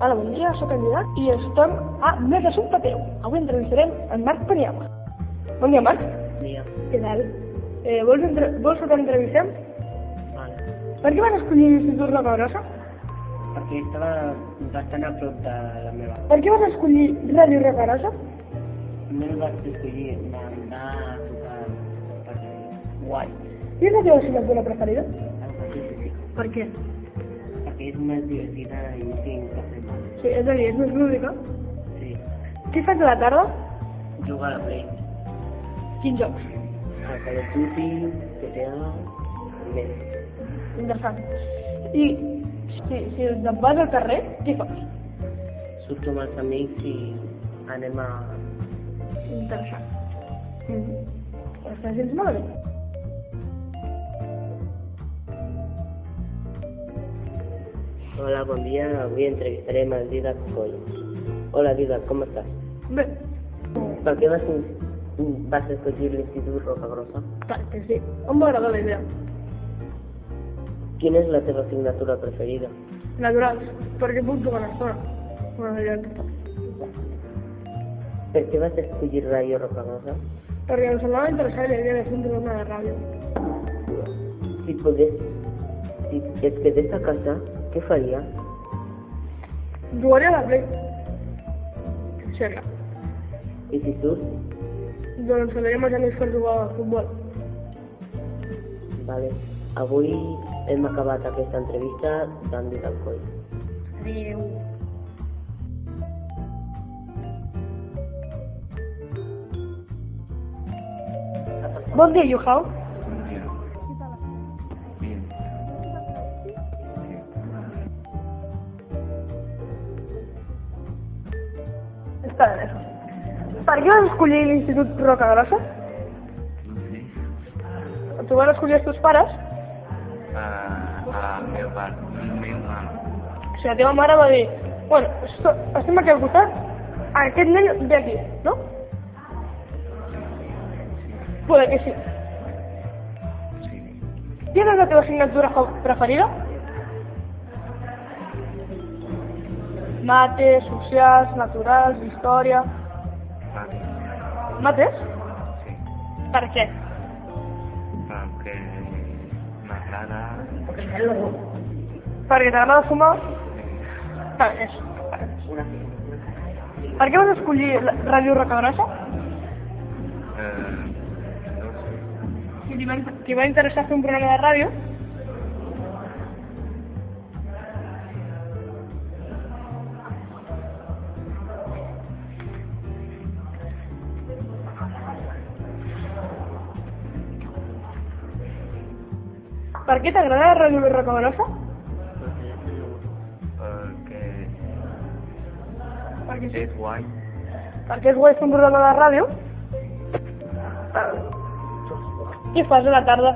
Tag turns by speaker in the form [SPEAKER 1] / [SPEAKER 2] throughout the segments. [SPEAKER 1] a la Bon Dia, soc candidat i ens trobem a Més Assumpte Teu. Avui entrevistarem en Marc Paniagua. Bon dia, Marc.
[SPEAKER 2] Dia.
[SPEAKER 1] Què tal? Eh, vols, entre... vols que t'entrevistem?
[SPEAKER 2] Vale.
[SPEAKER 1] Per què van escollir l'Institut La Cabrosa?
[SPEAKER 2] Perquè estava bastant a prop de la meva.
[SPEAKER 1] Per què vas escollir Ràdio Recarosa?
[SPEAKER 2] No el vaig escollir, m'anà a tocar per guai.
[SPEAKER 1] I és la teva assignatura preferida?
[SPEAKER 2] El petit físic.
[SPEAKER 1] Per què?
[SPEAKER 2] Perquè és més divertida i no tinc que fer mal.
[SPEAKER 1] Sí, és a dir, és més lúdica.
[SPEAKER 2] Sí.
[SPEAKER 1] Què fas a la tarda?
[SPEAKER 2] Juga a la Play.
[SPEAKER 1] Quins jocs?
[SPEAKER 2] A Call of Duty, GTA, i més.
[SPEAKER 1] Interessant. I si, si et vas al carrer, què fas?
[SPEAKER 2] Surto amb els amics i anem a...
[SPEAKER 1] Interessant. Mm -hmm. Estàs gens malament?
[SPEAKER 2] Hola, bon dia. Avui entrevistarem el Didac Coll. Hola, Didac, com estàs?
[SPEAKER 1] Bé, Oh.
[SPEAKER 2] Per què vas, vas escollir l'Institut Roca Grossa?
[SPEAKER 1] perquè sí. Em va agradar la idea.
[SPEAKER 2] Quina és la teva assignatura preferida?
[SPEAKER 1] Naturals, perquè puc jugar a l'estona. Bueno, ja que està.
[SPEAKER 2] Per què vas escollir Ràdio Roca Grossa?
[SPEAKER 1] Perquè em semblava interessant la idea de fer un programa de ràdio.
[SPEAKER 2] Si et, pogués, si et quedés a casa, què faria?
[SPEAKER 1] Jugaria a la Play. Sí, clar.
[SPEAKER 2] I si surts?
[SPEAKER 1] Doncs quedaria amb els amics per jugar a futbol.
[SPEAKER 2] Vale. Avui hem acabat aquesta entrevista d'Andy del Coll.
[SPEAKER 1] Adéu. Bon dia, Yuhao. Està bé. Per què vas escollir l'Institut Roca Grossa? T'ho van escollir els teus pares?
[SPEAKER 2] Ah, meu pare, meu mare.
[SPEAKER 1] O sigui, la teva mare va dir, bueno, esto- estem aquí al costat, aquest nen ve aquí, no? Poder que sí. Quina és la teva assignatura fa- preferida? Mates, socials, naturals, història... Mates? Per què?
[SPEAKER 2] Perquè m'agrada...
[SPEAKER 1] Perquè t'agrada fumar? Per què?
[SPEAKER 2] Una
[SPEAKER 1] Per què vas escollir la- Ràdio Rocagrossa?
[SPEAKER 2] Eh, no sé.
[SPEAKER 1] Li va, li va interessar fer un programa de ràdio? Per què t'agrada Ràdio Rocabarosa?
[SPEAKER 2] Perquè
[SPEAKER 1] Perquè,
[SPEAKER 2] és guai.
[SPEAKER 1] perquè és guai fer un programa de ràdio? Què fas a la tarda?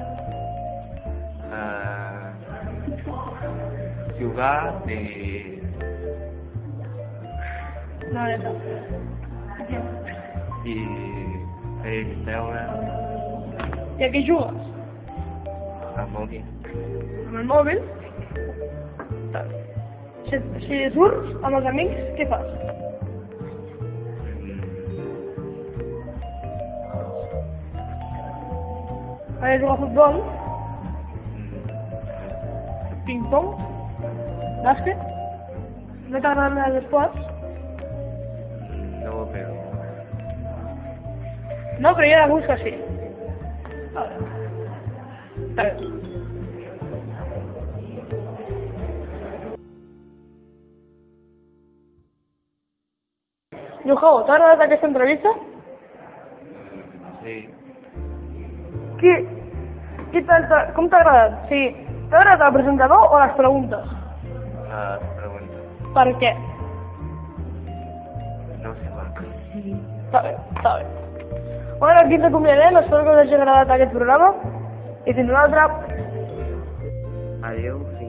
[SPEAKER 2] Uh, jugar i,
[SPEAKER 1] No, ja està.
[SPEAKER 2] i fer veure
[SPEAKER 1] I a què jugues?
[SPEAKER 2] a mòbil.
[SPEAKER 1] amb el mòbil. Si, si surts amb els amics, què fas? Vaig a jugar a futbol, ping-pong, bàsquet. No t'agraden els esports?
[SPEAKER 2] No, però...
[SPEAKER 1] No, però hi ha alguns que sí. A veure. A veure. Yuhao, t'ha agradat aquesta entrevista?
[SPEAKER 2] Sí,
[SPEAKER 1] Qui, qui t'ha- t'ha- com t'ha agradat? Sí, t'ha agradat el presentador o les preguntes?
[SPEAKER 2] les preguntes.
[SPEAKER 1] Per què?
[SPEAKER 2] No sé per què.
[SPEAKER 1] Està bé, està bé. Bueno, aquí ens acomiadem, espero que us hagi agradat aquest programa i fins un altre.
[SPEAKER 2] Adéu.